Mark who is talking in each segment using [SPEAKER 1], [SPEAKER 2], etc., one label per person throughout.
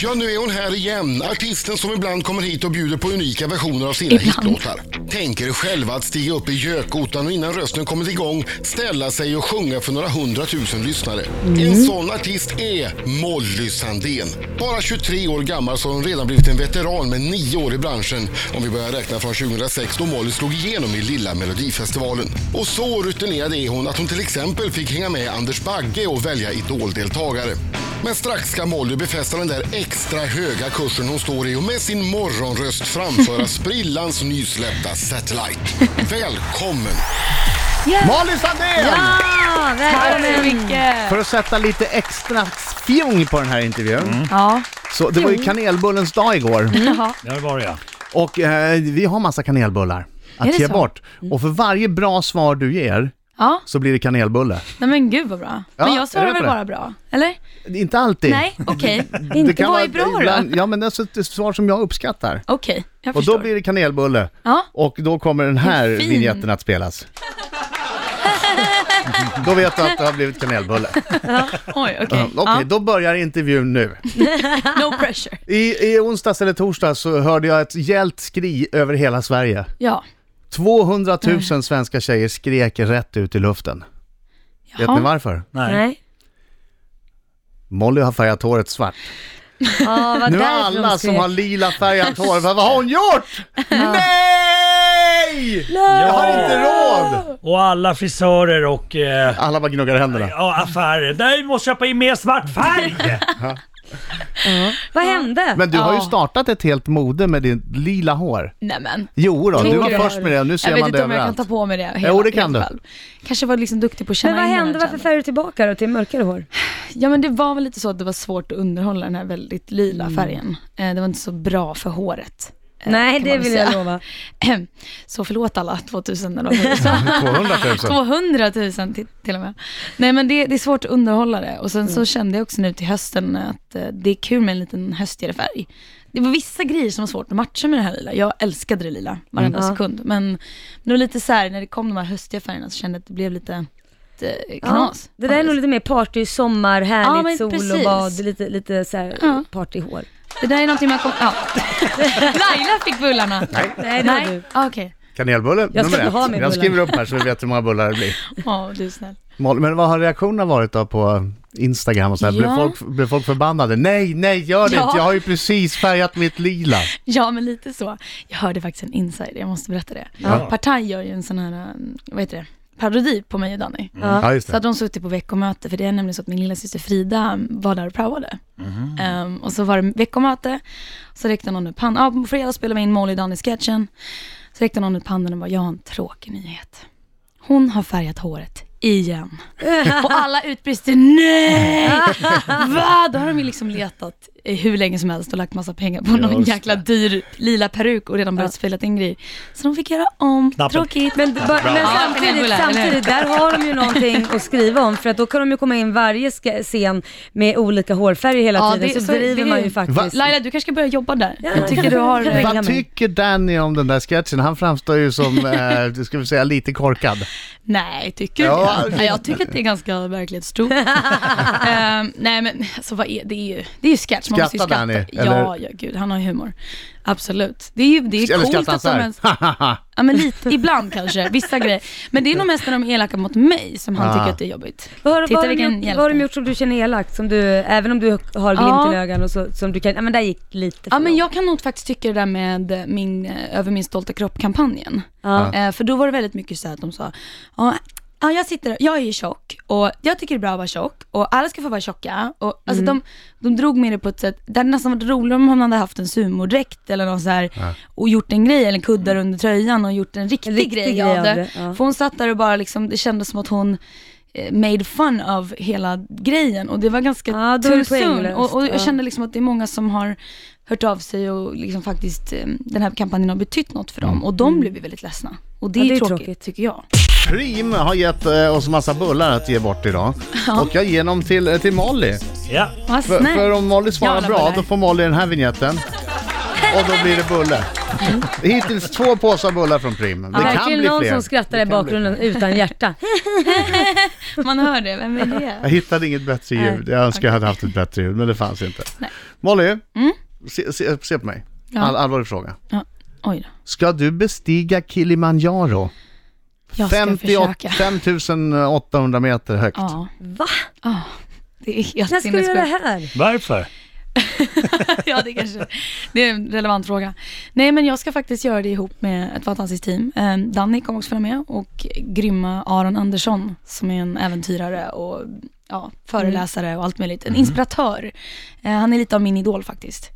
[SPEAKER 1] Ja, nu är hon här igen. Artisten som ibland kommer hit och bjuder på unika versioner av sina
[SPEAKER 2] Ibland.
[SPEAKER 1] hitlåtar. Tänker själva att stiga upp i gökotan och innan rösten kommit igång ställa sig och sjunga för några hundratusen lyssnare. En sån artist är Molly Sandén. Bara 23 år gammal så har hon redan blivit en veteran med nio år i branschen om vi börjar räkna från 2006 då Molly slog igenom i Lilla Melodifestivalen. Och så rutinerad är hon att hon till exempel fick hänga med Anders Bagge och välja idoldeltagare. Men strax ska Molly befästa den där extra höga kursen hon står i och med sin morgonröst framföra sprillans nysläppta Satellite. Välkommen!
[SPEAKER 3] Molly Sandén!
[SPEAKER 2] Ja,
[SPEAKER 4] Tack så
[SPEAKER 2] välkommen!
[SPEAKER 4] mycket!
[SPEAKER 3] För att sätta lite extra fjong på den här intervjun.
[SPEAKER 5] Mm.
[SPEAKER 2] Ja,
[SPEAKER 3] Så det var ju kanelbullens dag igår
[SPEAKER 2] jaha.
[SPEAKER 5] Där var jag.
[SPEAKER 3] och eh, vi har massa kanelbullar
[SPEAKER 2] Är
[SPEAKER 3] att
[SPEAKER 2] det
[SPEAKER 3] ge
[SPEAKER 2] så? Mm.
[SPEAKER 3] bort. Och för varje bra svar du ger
[SPEAKER 2] Ja,
[SPEAKER 3] så blir det kanelbulle.
[SPEAKER 2] nej men gud vad bra.
[SPEAKER 3] Ja,
[SPEAKER 2] men jag
[SPEAKER 3] är
[SPEAKER 2] svarar
[SPEAKER 3] du
[SPEAKER 2] väl
[SPEAKER 3] på det?
[SPEAKER 2] bara bra? Eller?
[SPEAKER 3] Inte alltid.
[SPEAKER 2] Nej, okej.
[SPEAKER 3] Det
[SPEAKER 2] Inte
[SPEAKER 3] kan
[SPEAKER 2] Vad
[SPEAKER 3] vara
[SPEAKER 2] är bra då?
[SPEAKER 3] ibland- Ja men det är så- det är svar som jag uppskattar.
[SPEAKER 2] Okej, jag
[SPEAKER 3] Och
[SPEAKER 2] förstår.
[SPEAKER 3] då blir det kanelbulle.
[SPEAKER 2] Ja.
[SPEAKER 3] Och då kommer den här
[SPEAKER 2] Vad fin.
[SPEAKER 3] vignetten att spelas. då vet du att det har blivit kanelbulle.
[SPEAKER 2] Oj, okej.
[SPEAKER 3] Okej, då börjar intervjun nu.
[SPEAKER 2] ja. No pressure.
[SPEAKER 3] I, I onsdags eller torsdags så hörde jag ett gällt skri över hela Sverige.
[SPEAKER 2] Ja.
[SPEAKER 3] 200 000 svenska tjejer skrek rätt ut i luften. Vet
[SPEAKER 2] Jaha.
[SPEAKER 3] ni varför?
[SPEAKER 5] Nej.
[SPEAKER 4] Nej.
[SPEAKER 3] Molly har färgat håret svart.
[SPEAKER 4] Ja, vad
[SPEAKER 3] Nu är
[SPEAKER 4] därför de
[SPEAKER 3] alla
[SPEAKER 4] skrek.
[SPEAKER 3] som har lila färgat hår, vad vad har hon gjort? Nej! Jag har inte råd!
[SPEAKER 5] Och alla frisörer och eh,
[SPEAKER 3] Alla bara gnuggar händerna.
[SPEAKER 5] ja, affärer. Nej, vi måste köpa in mer svart färg!
[SPEAKER 4] Vad hände?
[SPEAKER 3] Men du har ju
[SPEAKER 2] Ja.
[SPEAKER 3] startat ett helt mode med ditt lila hår.
[SPEAKER 2] Nej men.
[SPEAKER 3] Jo då, du
[SPEAKER 2] Tycker
[SPEAKER 3] var
[SPEAKER 2] du?
[SPEAKER 3] först med det och nu ser
[SPEAKER 2] jag
[SPEAKER 3] man
[SPEAKER 2] vet
[SPEAKER 3] det
[SPEAKER 2] inte om jag kan
[SPEAKER 3] överallt.
[SPEAKER 2] ta på mig det.
[SPEAKER 3] Jo, det kan
[SPEAKER 2] helt
[SPEAKER 3] du.
[SPEAKER 2] själv. Kanske var liksom duktig på att känna
[SPEAKER 4] Men vad
[SPEAKER 2] in den här
[SPEAKER 4] hände? Varför
[SPEAKER 2] trenden.
[SPEAKER 4] färgade du tillbaka då till mörkare hår?
[SPEAKER 2] Eh, Ja men det var väl lite så att det var svårt att underhålla den här väldigt lila färgen. Eh, Det var inte så bra för håret. eh,
[SPEAKER 4] Nej,
[SPEAKER 2] kan
[SPEAKER 4] det
[SPEAKER 2] man väl
[SPEAKER 4] vill
[SPEAKER 2] säga.
[SPEAKER 4] jag lova.
[SPEAKER 2] Ahem. Så förlåt alla 2000 eller vad det var.
[SPEAKER 3] 200 000.
[SPEAKER 2] 200 000 till, till och med. Nej men det, det är svårt att underhålla det. Och sen
[SPEAKER 4] Mm.
[SPEAKER 2] så kände jag också nu till hösten att eh, det är kul med en liten höstigare färg. Det var vissa grejer som var svårt att matcha med det här lila. Jag älskade det lila varenda
[SPEAKER 4] Mm. Ja.
[SPEAKER 2] sekund. Men men det var lite så här, när det kom de här höstiga färgerna så kände jag att det blev lite eh, knas.
[SPEAKER 4] det där är nog lite mer party, sommar,
[SPEAKER 2] Ja,
[SPEAKER 4] härligt,
[SPEAKER 2] men
[SPEAKER 4] sol och
[SPEAKER 2] precis.
[SPEAKER 4] bad, lite, lite så här
[SPEAKER 2] Ja.
[SPEAKER 4] partyhår.
[SPEAKER 2] Det där är någonting man kommer... Ja. Laila fick bullarna. Nej,
[SPEAKER 4] Nej, det var
[SPEAKER 2] Nej.
[SPEAKER 4] du.
[SPEAKER 2] Ah, okej.
[SPEAKER 3] Kanelbulle
[SPEAKER 4] Jag
[SPEAKER 3] nummer
[SPEAKER 4] ska ha
[SPEAKER 3] ett.
[SPEAKER 4] min
[SPEAKER 3] Jag
[SPEAKER 4] bulle.
[SPEAKER 3] skriver upp här så vi vet hur många bullar det blir.
[SPEAKER 2] Ja, du är snäll.
[SPEAKER 3] Molly, Men vad har reaktionerna varit då på Instagram och så här? Blev,
[SPEAKER 2] Ja.
[SPEAKER 3] folk, blev folk förbannade? Nej, nej, gör det
[SPEAKER 2] Ja.
[SPEAKER 3] inte. Jag har ju precis färgat mitt lila.
[SPEAKER 2] Ja, men lite så. Jag hörde faktiskt en insider, jag måste berätta det. Partaj gör ju en sån här, um, vad heter det, parodi på mig och Danny.
[SPEAKER 3] Ja, just
[SPEAKER 2] Så
[SPEAKER 3] det.
[SPEAKER 2] hade de suttit på veckomöte, för det är nämligen så att min lilla syster Frida um, var där och praoade.
[SPEAKER 3] Mhm.
[SPEAKER 2] Um, och så var det veckomöte, så räckte någon upp handen, ja på fredag spelar vi in Molly och Danny-sketchen. Så räckte någon upp handen och bara, jag har en tråkig nyhet. Hon har färgat håret igen. Och alla utbrister nej! Va? Då har de ju liksom letat eh, hur länge som helst och lagt massa pengar på någon
[SPEAKER 3] Just det.
[SPEAKER 2] jäkla dyr lila peruk och redan börjat spela in grejer. Så de fick göra om.
[SPEAKER 5] Knappen.
[SPEAKER 2] Tråkigt.
[SPEAKER 4] Men, d- bara- men
[SPEAKER 2] Ja,
[SPEAKER 4] samtidigt,
[SPEAKER 2] kanelbullar,
[SPEAKER 4] samtidigt, där har de ju någonting att skriva om för att då kan de ju komma in varje ska- scen med olika hårfärger hela
[SPEAKER 2] Ja,
[SPEAKER 4] tiden
[SPEAKER 2] det-
[SPEAKER 4] så
[SPEAKER 2] så
[SPEAKER 4] driver
[SPEAKER 2] det-
[SPEAKER 4] man ju
[SPEAKER 3] Va?
[SPEAKER 4] faktiskt.
[SPEAKER 2] Laila, du kanske ska börja jobba där. jag tycker
[SPEAKER 4] jag
[SPEAKER 2] du har...
[SPEAKER 4] kan-
[SPEAKER 3] Vad tycker Danny om den där sketchen? Han framstår ju som, eh, ska vi säga, lite korkad.
[SPEAKER 2] Nej, tycker
[SPEAKER 3] Ja.
[SPEAKER 2] jag.
[SPEAKER 3] alltså-
[SPEAKER 2] Nej, jag tycker att det är ganska verklighetstroget. uh, nej, men alltså, vad är, det är ju det är ju sketch. Man måste ju
[SPEAKER 3] Skrattar
[SPEAKER 2] skratta.
[SPEAKER 3] Danny,
[SPEAKER 2] Ja, ja, gud, han har ju humor. Absolut. Det är ju det är
[SPEAKER 3] Eller
[SPEAKER 2] coolt
[SPEAKER 3] skrattar han
[SPEAKER 2] att
[SPEAKER 3] så
[SPEAKER 2] de
[SPEAKER 3] här?
[SPEAKER 2] ens... Ja, men lite, ibland kanske, vissa grejer. Men det är nog mest när de är elaka mot mig som han
[SPEAKER 3] Ah.
[SPEAKER 2] tycker att det är jobbigt.
[SPEAKER 4] Vad har,
[SPEAKER 2] Titta
[SPEAKER 4] vad, har de
[SPEAKER 2] vilken
[SPEAKER 4] gjort, vad
[SPEAKER 2] hjälte.
[SPEAKER 4] har de gjort som du känner elakt? Som du, även om du har glimt
[SPEAKER 2] Ja.
[SPEAKER 4] i ögonen och så, som du kan, ja men där gick lite för
[SPEAKER 2] Ja, men
[SPEAKER 4] långt.
[SPEAKER 2] jag kan nog faktiskt tycka det där med min eh, Över min stolta kropp-kampanjen.
[SPEAKER 4] Ja.
[SPEAKER 2] Eh, För då var det väldigt mycket så här att de sa, ja, ja, jag sitter, jag är ju tjock och jag tycker det är bra att vara tjock och alla ska få vara tjocka. Och, alltså
[SPEAKER 4] Mm.
[SPEAKER 2] de, de drog med det på ett sätt, det hade nästan varit roligare om man hade haft en sumordräkt eller någon så här och gjort en grej eller kuddar under tröjan och gjort en riktig,
[SPEAKER 4] Mm. En riktig
[SPEAKER 2] grej, av det.
[SPEAKER 4] ja.
[SPEAKER 2] För hon satt där och bara liksom, det kändes som att hon eh, made fun av hela grejen och det var ganska
[SPEAKER 4] Ja, då är
[SPEAKER 2] too
[SPEAKER 4] det
[SPEAKER 2] soon.
[SPEAKER 4] poänglöst,
[SPEAKER 2] Och, och
[SPEAKER 4] ja.
[SPEAKER 2] jag kände liksom att det är många som har hört av sig och liksom faktiskt eh, den här kampanjen har betytt något för dem och de blev ju väldigt ledsna. Och Mm. det,
[SPEAKER 4] Ja,
[SPEAKER 2] är, ju tråkigt, tycker jag.
[SPEAKER 3] Prim har gett eh, oss massa bullar att ge bort idag. Och jag ger dem till, eh, till Molly.
[SPEAKER 5] Ja.
[SPEAKER 2] Vad
[SPEAKER 3] För,
[SPEAKER 2] snällt.
[SPEAKER 3] för om Molly svarar
[SPEAKER 2] Jävla
[SPEAKER 3] bra,
[SPEAKER 2] bullar.
[SPEAKER 3] då får Molly den här vignetten. Och då blir det bulle.
[SPEAKER 2] Mm.
[SPEAKER 3] Hittills två påsar bullar från Prim. Det kan
[SPEAKER 4] Verkligen
[SPEAKER 3] bli
[SPEAKER 4] någon
[SPEAKER 3] fler.
[SPEAKER 4] som skrattar i bakgrunden utan hjärta.
[SPEAKER 2] Man hör det, vem är
[SPEAKER 3] Jag
[SPEAKER 2] det?
[SPEAKER 3] hittade inget bättre ljud. Jag önskar jag hade haft ett bättre ljud, men det fanns inte. Molly, se, se, se på mig.
[SPEAKER 2] Mm. Ja.
[SPEAKER 3] All, allvarlig fråga.
[SPEAKER 2] Ja. Oj då.
[SPEAKER 3] Ska du bestiga Kilimanjaro?
[SPEAKER 2] Jag ska
[SPEAKER 3] 58
[SPEAKER 2] försöka.
[SPEAKER 3] 5800 meter högt.
[SPEAKER 2] Ja,
[SPEAKER 4] Va?
[SPEAKER 2] det är helt
[SPEAKER 4] När ska du göra
[SPEAKER 2] sinnessjukt.
[SPEAKER 4] det här?
[SPEAKER 5] Varför?
[SPEAKER 2] ja, det kanske det är en relevant fråga. Nej, men jag ska faktiskt göra det ihop med ett fantastiskt team. Eh, Danny kommer också följa med och grymma Aron Andersson som är en äventyrare och ja, föreläsare och allt möjligt.
[SPEAKER 3] Mm.
[SPEAKER 2] En inspiratör. Eh, han är lite av min idol faktiskt.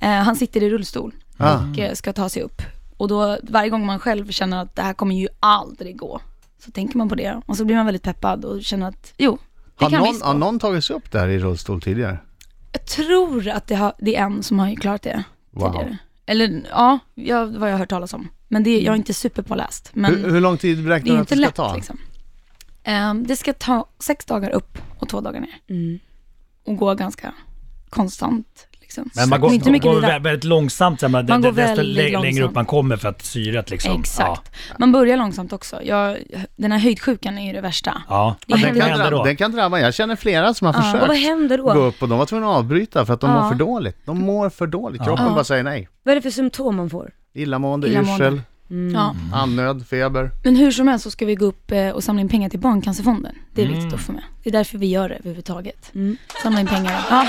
[SPEAKER 2] Eh, han sitter i rullstol
[SPEAKER 3] Ah.
[SPEAKER 2] och eh, ska ta sig upp. Och då varje gång man själv känner att det här kommer ju aldrig gå, så tänker man på det och så blir man väldigt peppad och känner att jo, det
[SPEAKER 3] Har
[SPEAKER 2] kan
[SPEAKER 3] någon,
[SPEAKER 2] visst gå.
[SPEAKER 3] har någon tagit sig upp där i rullstol tidigare?
[SPEAKER 2] Jag tror att det, har, det är en som har klarat det
[SPEAKER 3] Wow.
[SPEAKER 2] tidigare. Eller ja, jag, vad jag har hört talas om. Men det, jag är inte superpåläst. Men
[SPEAKER 3] hur, hur lång tid
[SPEAKER 2] det är
[SPEAKER 3] beräknar
[SPEAKER 2] ju
[SPEAKER 3] du att
[SPEAKER 2] inte
[SPEAKER 3] det ska
[SPEAKER 2] lätt
[SPEAKER 3] ta?
[SPEAKER 2] liksom. Ehm, det ska ta sex dagar upp och två dagar ner. Och gå ganska konstant. Liksom.
[SPEAKER 5] Men man går,
[SPEAKER 2] inte mycket
[SPEAKER 5] går
[SPEAKER 2] vila.
[SPEAKER 5] vä- väldigt långsamt. så här, Man,
[SPEAKER 2] Man
[SPEAKER 5] det,
[SPEAKER 2] går
[SPEAKER 5] desto
[SPEAKER 2] väldigt
[SPEAKER 5] lä- längre upp
[SPEAKER 2] långsamt.
[SPEAKER 5] man kommer för att syret liksom.
[SPEAKER 2] Exakt. Man börjar långsamt också. Jag, den här höjdsjukan är ju det värsta.
[SPEAKER 5] Ja. ja.
[SPEAKER 2] Men
[SPEAKER 5] Vad
[SPEAKER 3] Den
[SPEAKER 5] kan
[SPEAKER 3] kan,
[SPEAKER 5] hända
[SPEAKER 3] drabba,
[SPEAKER 5] då?
[SPEAKER 3] den kan drabba, jag känner flera som har
[SPEAKER 4] Och vad
[SPEAKER 3] försökt
[SPEAKER 4] händer
[SPEAKER 3] gå
[SPEAKER 4] då?
[SPEAKER 3] upp och de var tvungna att avbryta för att de
[SPEAKER 2] Ja.
[SPEAKER 3] mår för dåligt. De mår för dåligt, kroppen bara säger nej.
[SPEAKER 4] Vad är det för symptom man får?
[SPEAKER 3] Illamående,
[SPEAKER 2] Illamående.
[SPEAKER 3] yrsel,
[SPEAKER 2] Ja.
[SPEAKER 3] andnöd, feber.
[SPEAKER 2] Men hur som helst så ska vi gå upp eh, och samla in pengar till Barncancerfonden. Det är
[SPEAKER 5] Mm.
[SPEAKER 2] viktigt att få med. Det är därför vi gör det överhuvudtaget. Samla in pengar. Ja.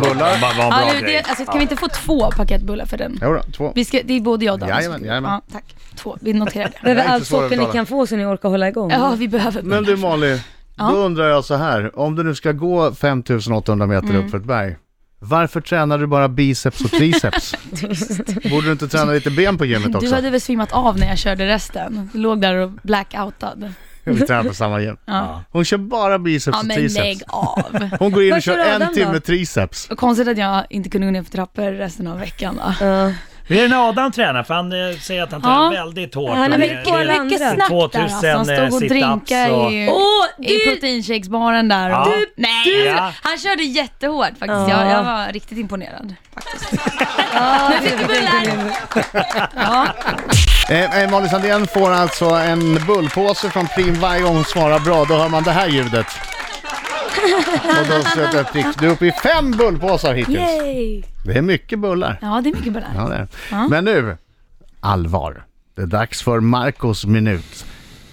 [SPEAKER 5] Bullar. Vad vad
[SPEAKER 2] Ja,
[SPEAKER 5] en
[SPEAKER 2] nu, det,
[SPEAKER 5] bra grej.
[SPEAKER 2] alltså, kan vi inte få två paketbullar för den?
[SPEAKER 3] Jodå, två.
[SPEAKER 2] Vi ska, det är både jag och Danne som
[SPEAKER 3] Jajamän,
[SPEAKER 2] ska-
[SPEAKER 3] jajamän.
[SPEAKER 2] Ja, tack. Två, vi noterar det.
[SPEAKER 4] Behöver
[SPEAKER 3] är inte
[SPEAKER 4] allt
[SPEAKER 3] svårare att
[SPEAKER 4] socker ni
[SPEAKER 3] betala.
[SPEAKER 4] kan få så ni orkar hålla igång?
[SPEAKER 2] Ja, vi behöver
[SPEAKER 3] Men du Molly,
[SPEAKER 2] Ja.
[SPEAKER 3] då undrar jag så här. Om du nu ska gå 5800 meter upp för ett berg, varför tränar du bara biceps och triceps? Borde du inte träna lite ben på gymmet också?
[SPEAKER 2] Du hade väl svimmat av när jag körde resten? Du låg där och blackoutad.
[SPEAKER 3] Vi tränar på samma gym.
[SPEAKER 2] Ja.
[SPEAKER 3] Hon kör bara biceps
[SPEAKER 2] Ja,
[SPEAKER 3] och
[SPEAKER 2] men
[SPEAKER 3] triceps.
[SPEAKER 2] lägg av.
[SPEAKER 3] Hon går in och
[SPEAKER 4] Vad
[SPEAKER 3] kör
[SPEAKER 4] kör Adam
[SPEAKER 3] en
[SPEAKER 4] då?
[SPEAKER 3] timme triceps.
[SPEAKER 2] Och konstigt att jag inte kunde gå ner för trappor resten av veckan. Va?
[SPEAKER 4] Ja.
[SPEAKER 5] Hur är det när Adam tränar? För han eh, säger att han
[SPEAKER 2] Ja.
[SPEAKER 5] tränar väldigt hårt.
[SPEAKER 4] Han är
[SPEAKER 5] och det-
[SPEAKER 4] mycket
[SPEAKER 5] det är
[SPEAKER 4] hårdare.
[SPEAKER 2] Mycket snack där alltså. Han
[SPEAKER 5] 2000,
[SPEAKER 2] stod
[SPEAKER 5] eh,
[SPEAKER 2] och
[SPEAKER 5] sit-ups
[SPEAKER 2] drinkade
[SPEAKER 5] och-
[SPEAKER 2] i,
[SPEAKER 4] Åh,
[SPEAKER 2] i
[SPEAKER 4] du-
[SPEAKER 2] proteinshakesbaren där.
[SPEAKER 5] Ja.
[SPEAKER 2] Och,
[SPEAKER 5] Du-
[SPEAKER 2] nej, alltså,
[SPEAKER 5] Ja.
[SPEAKER 2] han körde jättehårt faktiskt.
[SPEAKER 4] Ja.
[SPEAKER 2] Jag, jag var riktigt imponerad faktiskt.
[SPEAKER 4] Ja,
[SPEAKER 2] Nu fick du bullar! Ja.
[SPEAKER 3] Eh, eh, Molly Sandén får alltså en bullpåse från Prim varje gång hon svarar bra. Då hör man det här ljudet. Och då sätter jag prick. Du är uppe i fem bullpåsar hittills.
[SPEAKER 4] Yay!
[SPEAKER 3] Det är mycket bullar.
[SPEAKER 2] ja, det är mycket bullar.
[SPEAKER 3] Ja, det är. det. Men nu, allvar. Det är dags för Marcos minut.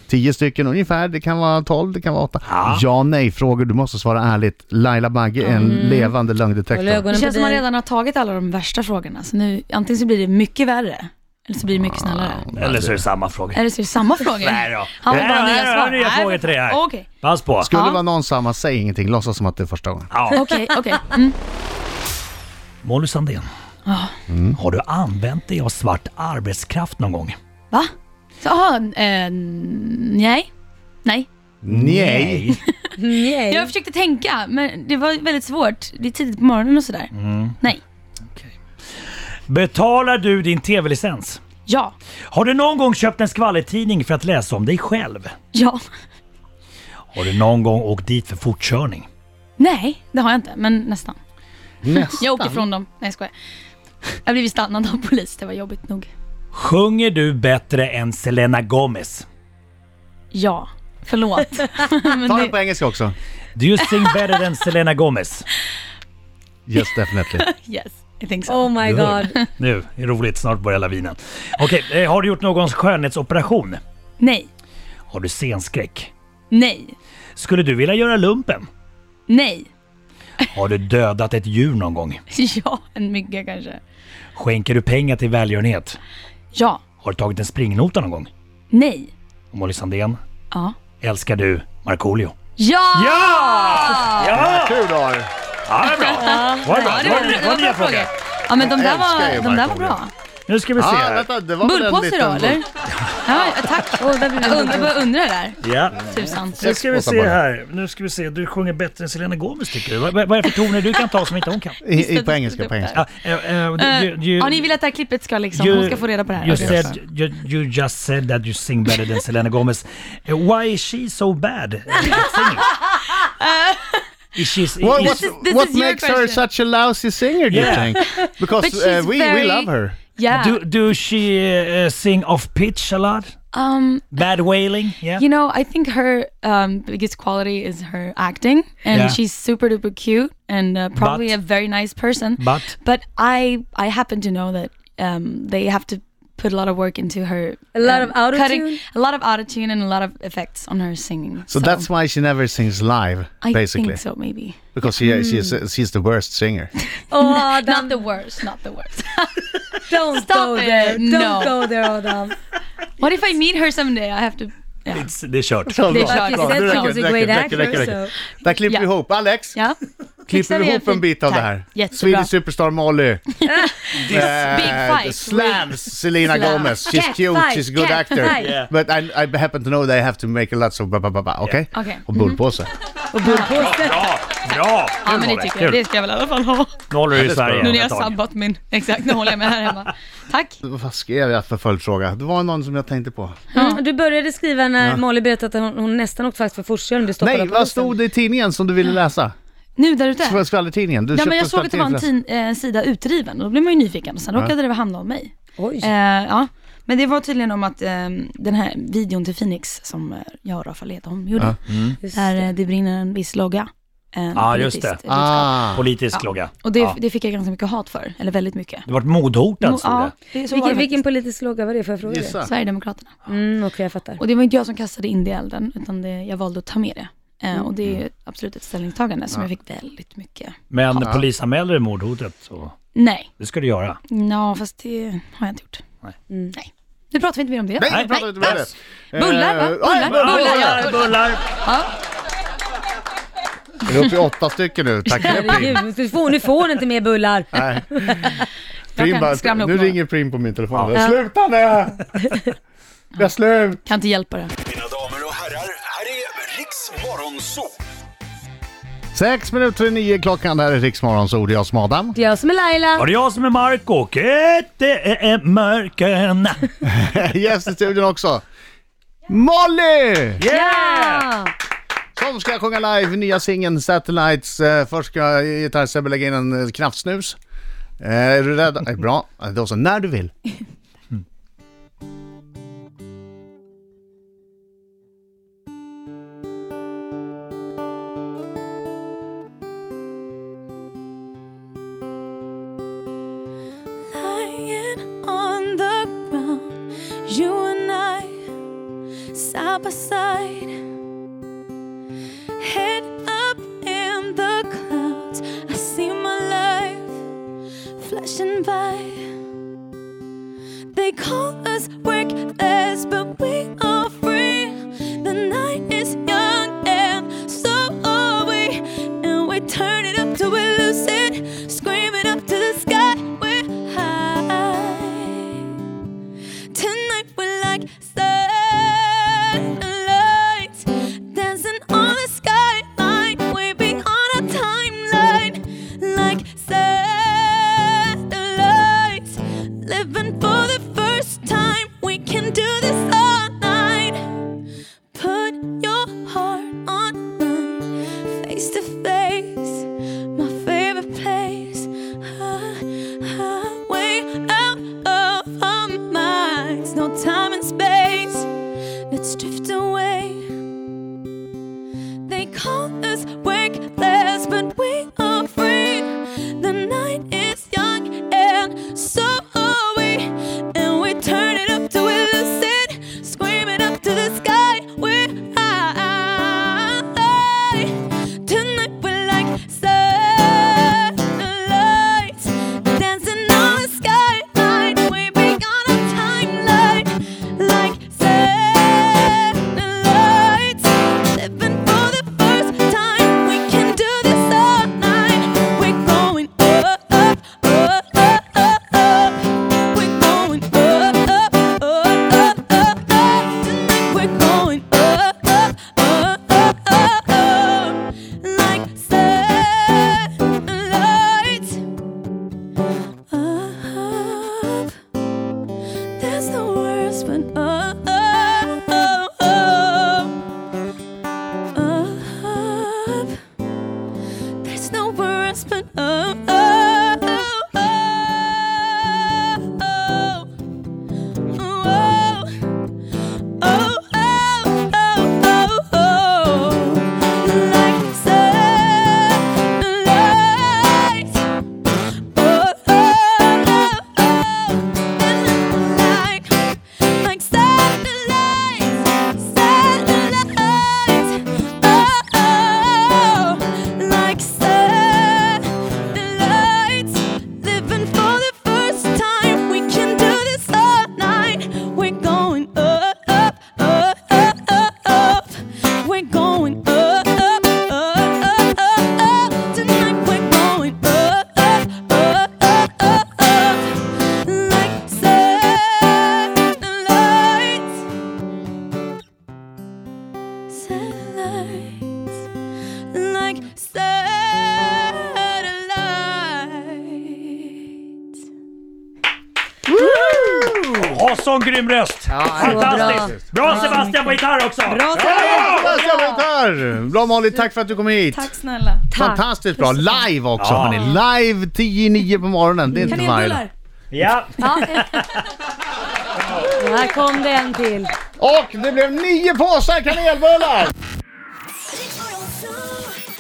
[SPEAKER 3] Tio stycken ungefär, det kan vara tolv, det kan vara åtta. Ja, nej-frågor, du måste svara ärligt. Laila Bagge är en
[SPEAKER 2] Mm.
[SPEAKER 3] levande
[SPEAKER 4] Håll
[SPEAKER 3] lögndetektor.
[SPEAKER 2] Det
[SPEAKER 4] ögonen på
[SPEAKER 2] känns som man
[SPEAKER 4] dig.
[SPEAKER 2] redan har tagit alla de värsta frågorna, så nu, antingen så blir det mycket värre, eller så blir det mycket snällare.
[SPEAKER 5] Eller så är det samma fråga.
[SPEAKER 2] Eller så är det samma frågor.
[SPEAKER 5] Ah, Nej då.
[SPEAKER 2] Han vill bara ha
[SPEAKER 5] Nej,
[SPEAKER 2] nya
[SPEAKER 5] jag har
[SPEAKER 2] svar.
[SPEAKER 5] nya
[SPEAKER 2] Nej,
[SPEAKER 5] frågor
[SPEAKER 2] men-
[SPEAKER 5] till dig här.
[SPEAKER 2] Okej,
[SPEAKER 5] Pass på.
[SPEAKER 3] Skulle det
[SPEAKER 2] Ja.
[SPEAKER 3] vara någon samma, säg ingenting. Låtsas som att det är första gången.
[SPEAKER 5] Ja.
[SPEAKER 2] okej, okej. Mm.
[SPEAKER 5] Molly Sandén. Har du använt dig av svart arbetskraft någon gång?
[SPEAKER 2] Va? Så, aha, eh, nej. Nej.
[SPEAKER 3] Nej.
[SPEAKER 2] Jag
[SPEAKER 4] Nej.
[SPEAKER 2] försökte tänka, men det var väldigt svårt. Det är tidigt på morgonen och sådär.
[SPEAKER 5] Mm.
[SPEAKER 2] Nej.
[SPEAKER 5] Betalar du din tv-licens?
[SPEAKER 2] Ja.
[SPEAKER 5] Har du någon gång köpt en skvallertidning för att läsa om dig själv?
[SPEAKER 2] Ja.
[SPEAKER 5] Har du någon gång åkt dit för fortkörning?
[SPEAKER 2] Nej, det har jag inte, men nästan.
[SPEAKER 3] Nästan.
[SPEAKER 2] Jag åkte ifrån dem. Nej, jag skojar. Jag blev stannad av polis, det var jobbigt nog.
[SPEAKER 5] Sjunger du bättre än Selena Gomez?
[SPEAKER 2] Ja. Förlåt. Men
[SPEAKER 3] Ta
[SPEAKER 2] det-
[SPEAKER 3] den på engelska också.
[SPEAKER 5] Do you sing better than Selena Gomez?
[SPEAKER 3] Yes, definitely.
[SPEAKER 2] Yes, I think so.
[SPEAKER 4] Oh my god.
[SPEAKER 5] Nu, är det roligt, snart börjar lavinen. Okej, eh, har du gjort någon skönhetsoperation?
[SPEAKER 2] Nej,
[SPEAKER 5] Har du scenskräck?
[SPEAKER 2] nej,
[SPEAKER 5] Skulle du vilja göra lumpen?
[SPEAKER 2] nej.
[SPEAKER 5] Har du dödat ett djur någon gång?
[SPEAKER 2] Ja, en mygga kanske.
[SPEAKER 5] Skänker du pengar till välgörenhet?
[SPEAKER 2] Ja,
[SPEAKER 5] Har du tagit en springnota någon gång?
[SPEAKER 2] nej.
[SPEAKER 5] Och Molly Sandén,
[SPEAKER 2] Ja.
[SPEAKER 5] älskar du Markoolio?
[SPEAKER 2] Ja!
[SPEAKER 5] Ja! Ja!
[SPEAKER 3] Kul du har.
[SPEAKER 5] Ja, det är bra. Var det bra?
[SPEAKER 2] Ja, det
[SPEAKER 5] Det var,
[SPEAKER 2] var,
[SPEAKER 5] det
[SPEAKER 2] det
[SPEAKER 5] var
[SPEAKER 2] var
[SPEAKER 5] nya
[SPEAKER 2] bra
[SPEAKER 5] frågor.
[SPEAKER 2] frågor. Ja, men de där
[SPEAKER 3] älskar ju
[SPEAKER 2] var, de där var
[SPEAKER 3] Markoolio.
[SPEAKER 2] bra.
[SPEAKER 5] Nu ska vi se
[SPEAKER 3] Ah,
[SPEAKER 5] här.
[SPEAKER 3] vänta, det var väl en
[SPEAKER 2] Bullpåse då,
[SPEAKER 3] liten bull-
[SPEAKER 2] eller? Ja, tack.
[SPEAKER 4] Åh, där blir det
[SPEAKER 2] Jag undrar, bara undrar där.
[SPEAKER 5] Ja.
[SPEAKER 3] Mm.
[SPEAKER 2] Tusan.
[SPEAKER 5] Nu ska vi
[SPEAKER 3] Sex
[SPEAKER 5] se
[SPEAKER 3] båtar bara.
[SPEAKER 5] här. Nu ska vi se. Du sjunger bättre än Selena Gomez tycker du. Vad, vad vad är det för toner du kan ta som inte hon kan?
[SPEAKER 3] I, i,
[SPEAKER 2] Visst
[SPEAKER 3] på
[SPEAKER 2] att-
[SPEAKER 3] engelska, på engelska.
[SPEAKER 5] Ja, eh, eh, you- you-
[SPEAKER 2] Uh, ja, ni vill att det här klippet ska liksom,
[SPEAKER 5] you-
[SPEAKER 2] hon ska få reda på det här.
[SPEAKER 5] You,
[SPEAKER 2] Okej.
[SPEAKER 5] said, you, you just said that you sing better than Selena Gomez. Eh, Why is she so bad? at singing? Is she, is,
[SPEAKER 3] What, what,
[SPEAKER 2] is- this
[SPEAKER 3] what
[SPEAKER 2] is your
[SPEAKER 3] makes her
[SPEAKER 2] question.
[SPEAKER 3] such a lousy singer, do you
[SPEAKER 5] Yeah.
[SPEAKER 3] think? Because
[SPEAKER 2] But she's
[SPEAKER 3] uh, we, we
[SPEAKER 2] very-
[SPEAKER 3] love her.
[SPEAKER 2] Yeah.
[SPEAKER 5] Do, do she uh, sing off pitch a lot?
[SPEAKER 2] um,
[SPEAKER 5] Bad wailing? Yeah.
[SPEAKER 2] You know, I think her um, biggest quality is her acting, and
[SPEAKER 5] Yeah.
[SPEAKER 2] she's super duper cute and uh, probably
[SPEAKER 5] But-
[SPEAKER 2] a very nice person.
[SPEAKER 5] But-
[SPEAKER 2] I I happen to know that um, they have to put a lot of work into her.
[SPEAKER 4] A lot
[SPEAKER 2] um,
[SPEAKER 4] of autotune?
[SPEAKER 2] cutting- a lot of autotune, and a lot of effects on her singing.
[SPEAKER 3] So, that's why she never sings live,
[SPEAKER 2] I
[SPEAKER 3] basically.
[SPEAKER 2] think so, Mm. maybe.
[SPEAKER 3] Because she, she is, she's the worst singer.
[SPEAKER 4] Åh Oh, Adam,
[SPEAKER 2] Not the worst, not the worst.
[SPEAKER 4] don't
[SPEAKER 2] Stop
[SPEAKER 4] go
[SPEAKER 2] it.
[SPEAKER 4] there. Don't
[SPEAKER 2] No.
[SPEAKER 4] go there Adam.
[SPEAKER 2] what if I meet her someday? I have to. Yeah.
[SPEAKER 5] It's, det är kört.
[SPEAKER 3] Så
[SPEAKER 2] Det
[SPEAKER 3] bra.
[SPEAKER 2] är klart.
[SPEAKER 3] Bra, nu
[SPEAKER 2] She
[SPEAKER 3] räcker
[SPEAKER 4] was a
[SPEAKER 3] det, räcker det,
[SPEAKER 4] great
[SPEAKER 3] räcker det, räcker det, räcker
[SPEAKER 4] actor,
[SPEAKER 3] det. Där klipper vi
[SPEAKER 2] Ja.
[SPEAKER 3] ihop. Alex,
[SPEAKER 2] ja.
[SPEAKER 3] klipper
[SPEAKER 2] Fixar
[SPEAKER 3] vi
[SPEAKER 2] vi en
[SPEAKER 3] ihop en
[SPEAKER 2] fin-
[SPEAKER 3] bit av det
[SPEAKER 2] Tack.
[SPEAKER 3] här?
[SPEAKER 2] Jättebra.
[SPEAKER 3] Swedish Superstar Molly. Eh,
[SPEAKER 2] big fight.
[SPEAKER 3] Slams Selena
[SPEAKER 2] Slam.
[SPEAKER 3] Gomez. She's
[SPEAKER 4] Cat
[SPEAKER 3] cute,
[SPEAKER 4] fight,
[SPEAKER 3] she's a good
[SPEAKER 4] cat
[SPEAKER 3] actor.
[SPEAKER 4] fight.
[SPEAKER 5] Yeah.
[SPEAKER 3] But I, I happen to know they have to make lots of ba ba ba ba, okej?
[SPEAKER 2] Yeah. Mm-hmm. Okej.
[SPEAKER 3] Och bullpåse.
[SPEAKER 4] och bullpåse.
[SPEAKER 5] Bra! Bra!
[SPEAKER 2] Ja, men det tycker jag. Det ska jag väl i alla fall ha.
[SPEAKER 5] Nu håller du i
[SPEAKER 3] det ska
[SPEAKER 5] Sverige
[SPEAKER 3] du
[SPEAKER 2] Nu när
[SPEAKER 3] ha.
[SPEAKER 5] om
[SPEAKER 2] jag
[SPEAKER 5] ett tag.
[SPEAKER 2] sabbat min. Exakt, nu håller jag med här hemma. Tack.
[SPEAKER 3] Vad skrev jag för följdfråga? Det var någon som jag tänkte på.
[SPEAKER 4] Mm, du började skriva när Molly berättade att hon, hon nästan åkte fast för fortkörning och blev stoppad av
[SPEAKER 3] Nej, vad
[SPEAKER 4] polisen.
[SPEAKER 3] stod det i tidningen som du ville läsa?
[SPEAKER 2] Nu där ute.
[SPEAKER 3] Skv- Skvallertidningen? Du
[SPEAKER 2] Nej, men
[SPEAKER 3] köpte
[SPEAKER 2] jag såg att det var en tin,
[SPEAKER 3] skvallertidningen
[SPEAKER 2] eh, sida utriven och då blev man ju nyfiken. Sen råkade det handla om mig.
[SPEAKER 4] Oj.
[SPEAKER 2] Eh, ja. Men det var tydligen om att eh, den här videon till Phoenix som eh, jag och Rafa Lederholm gjorde,
[SPEAKER 4] Just
[SPEAKER 2] där
[SPEAKER 4] det.
[SPEAKER 2] eh, det brinner en viss logga. Eh,
[SPEAKER 5] Ja, just
[SPEAKER 2] politiskt
[SPEAKER 5] det.
[SPEAKER 2] budskap.
[SPEAKER 3] Ah,
[SPEAKER 5] Politisk logga.
[SPEAKER 2] Och det,
[SPEAKER 5] Ja.
[SPEAKER 2] det fick jag ganska mycket hat för, eller väldigt mycket.
[SPEAKER 5] Det vart mordhotad, stod
[SPEAKER 2] ja,
[SPEAKER 5] det.
[SPEAKER 2] det, så var det
[SPEAKER 4] Vilken, vilken
[SPEAKER 2] vilken
[SPEAKER 4] politisk logga var det? Får jag fråga det?
[SPEAKER 3] gissa.
[SPEAKER 2] Sverigedemokraterna.
[SPEAKER 4] Mm, Okej, jag fattar.
[SPEAKER 2] Och det var inte jag som kastade in det i elden, utan det, jag valde att ta med det. Eh,
[SPEAKER 5] Mm.
[SPEAKER 2] och det är ju absolut ett ställningstagande som jag fick väldigt mycket.
[SPEAKER 5] Men polisanmälde du mordhotet? Så
[SPEAKER 2] Nej,
[SPEAKER 5] det ska du göra.
[SPEAKER 2] ja, fast det har jag inte gjort.
[SPEAKER 5] Nej.
[SPEAKER 2] Nej. Nu pratar vi inte mer om det.
[SPEAKER 3] Nej, nu pratar vi inte mer om det.
[SPEAKER 2] Bullar, va?
[SPEAKER 3] Eh,
[SPEAKER 2] Bullar,
[SPEAKER 3] oj,
[SPEAKER 2] bullar, bullar.
[SPEAKER 5] bullar!
[SPEAKER 3] Vi är uppe i åtta stycken nu. Tack för det, Prim.
[SPEAKER 4] Herregud, du får, nu får hon inte mer bullar.
[SPEAKER 3] Nej.
[SPEAKER 2] Jag
[SPEAKER 3] Prim
[SPEAKER 2] kan
[SPEAKER 3] bara,
[SPEAKER 2] skramla upp
[SPEAKER 3] nu
[SPEAKER 2] några.
[SPEAKER 3] ringer Prim på min telefon.
[SPEAKER 2] Ja.
[SPEAKER 3] Sluta nu! Jag är slut!
[SPEAKER 2] Kan inte hjälpa det.
[SPEAKER 6] Mina damer och herrar, här är Riks Morgonzoo!
[SPEAKER 3] Sex minuter i nio klockan, det här är Riksmorgons ord. Jag som Adam.
[SPEAKER 4] Det är jag som är Laila.
[SPEAKER 5] Var det jag som är Marco? Det är mörken!
[SPEAKER 3] Gäst i studion också. Molly!
[SPEAKER 5] Yeah!
[SPEAKER 3] Som ska sjunga live nya singeln Satellites. Eh, Först ska gitarrsebbe lägga in en eh, knappsnus. Eh, Är du rädd? Eh, Bra. Eh, Då så, när du vill.
[SPEAKER 7] lying on the ground, you and I, side by side, head up in the clouds. I see my life flashing by. They call us workless, but we are free. The night is young and so are we. And we turn it up till we lose it. Screaming up to the sky, we're high. Tonight we're like satellites dancing on the skyline. We're beyond our timeline, like satellites living for the first time. We
[SPEAKER 2] Oh,
[SPEAKER 5] Åh, sån grym röst! Fantastiskt! Bra, Sebastian på gitarr också!
[SPEAKER 4] Bra
[SPEAKER 3] Sebastian på gitarr! Bra Molly, tack för att du kom hit!
[SPEAKER 2] Tack snälla.
[SPEAKER 3] Fantastiskt bra! Live också
[SPEAKER 5] Ja.
[SPEAKER 3] hörni! Live 10-9 på morgonen, det är inte varje dag.
[SPEAKER 7] Kanelbullar.
[SPEAKER 5] Ja,
[SPEAKER 4] Här kom det en till.
[SPEAKER 3] Och det blev nio påsar kanelbullar!
[SPEAKER 7] Riks Morgonzoo.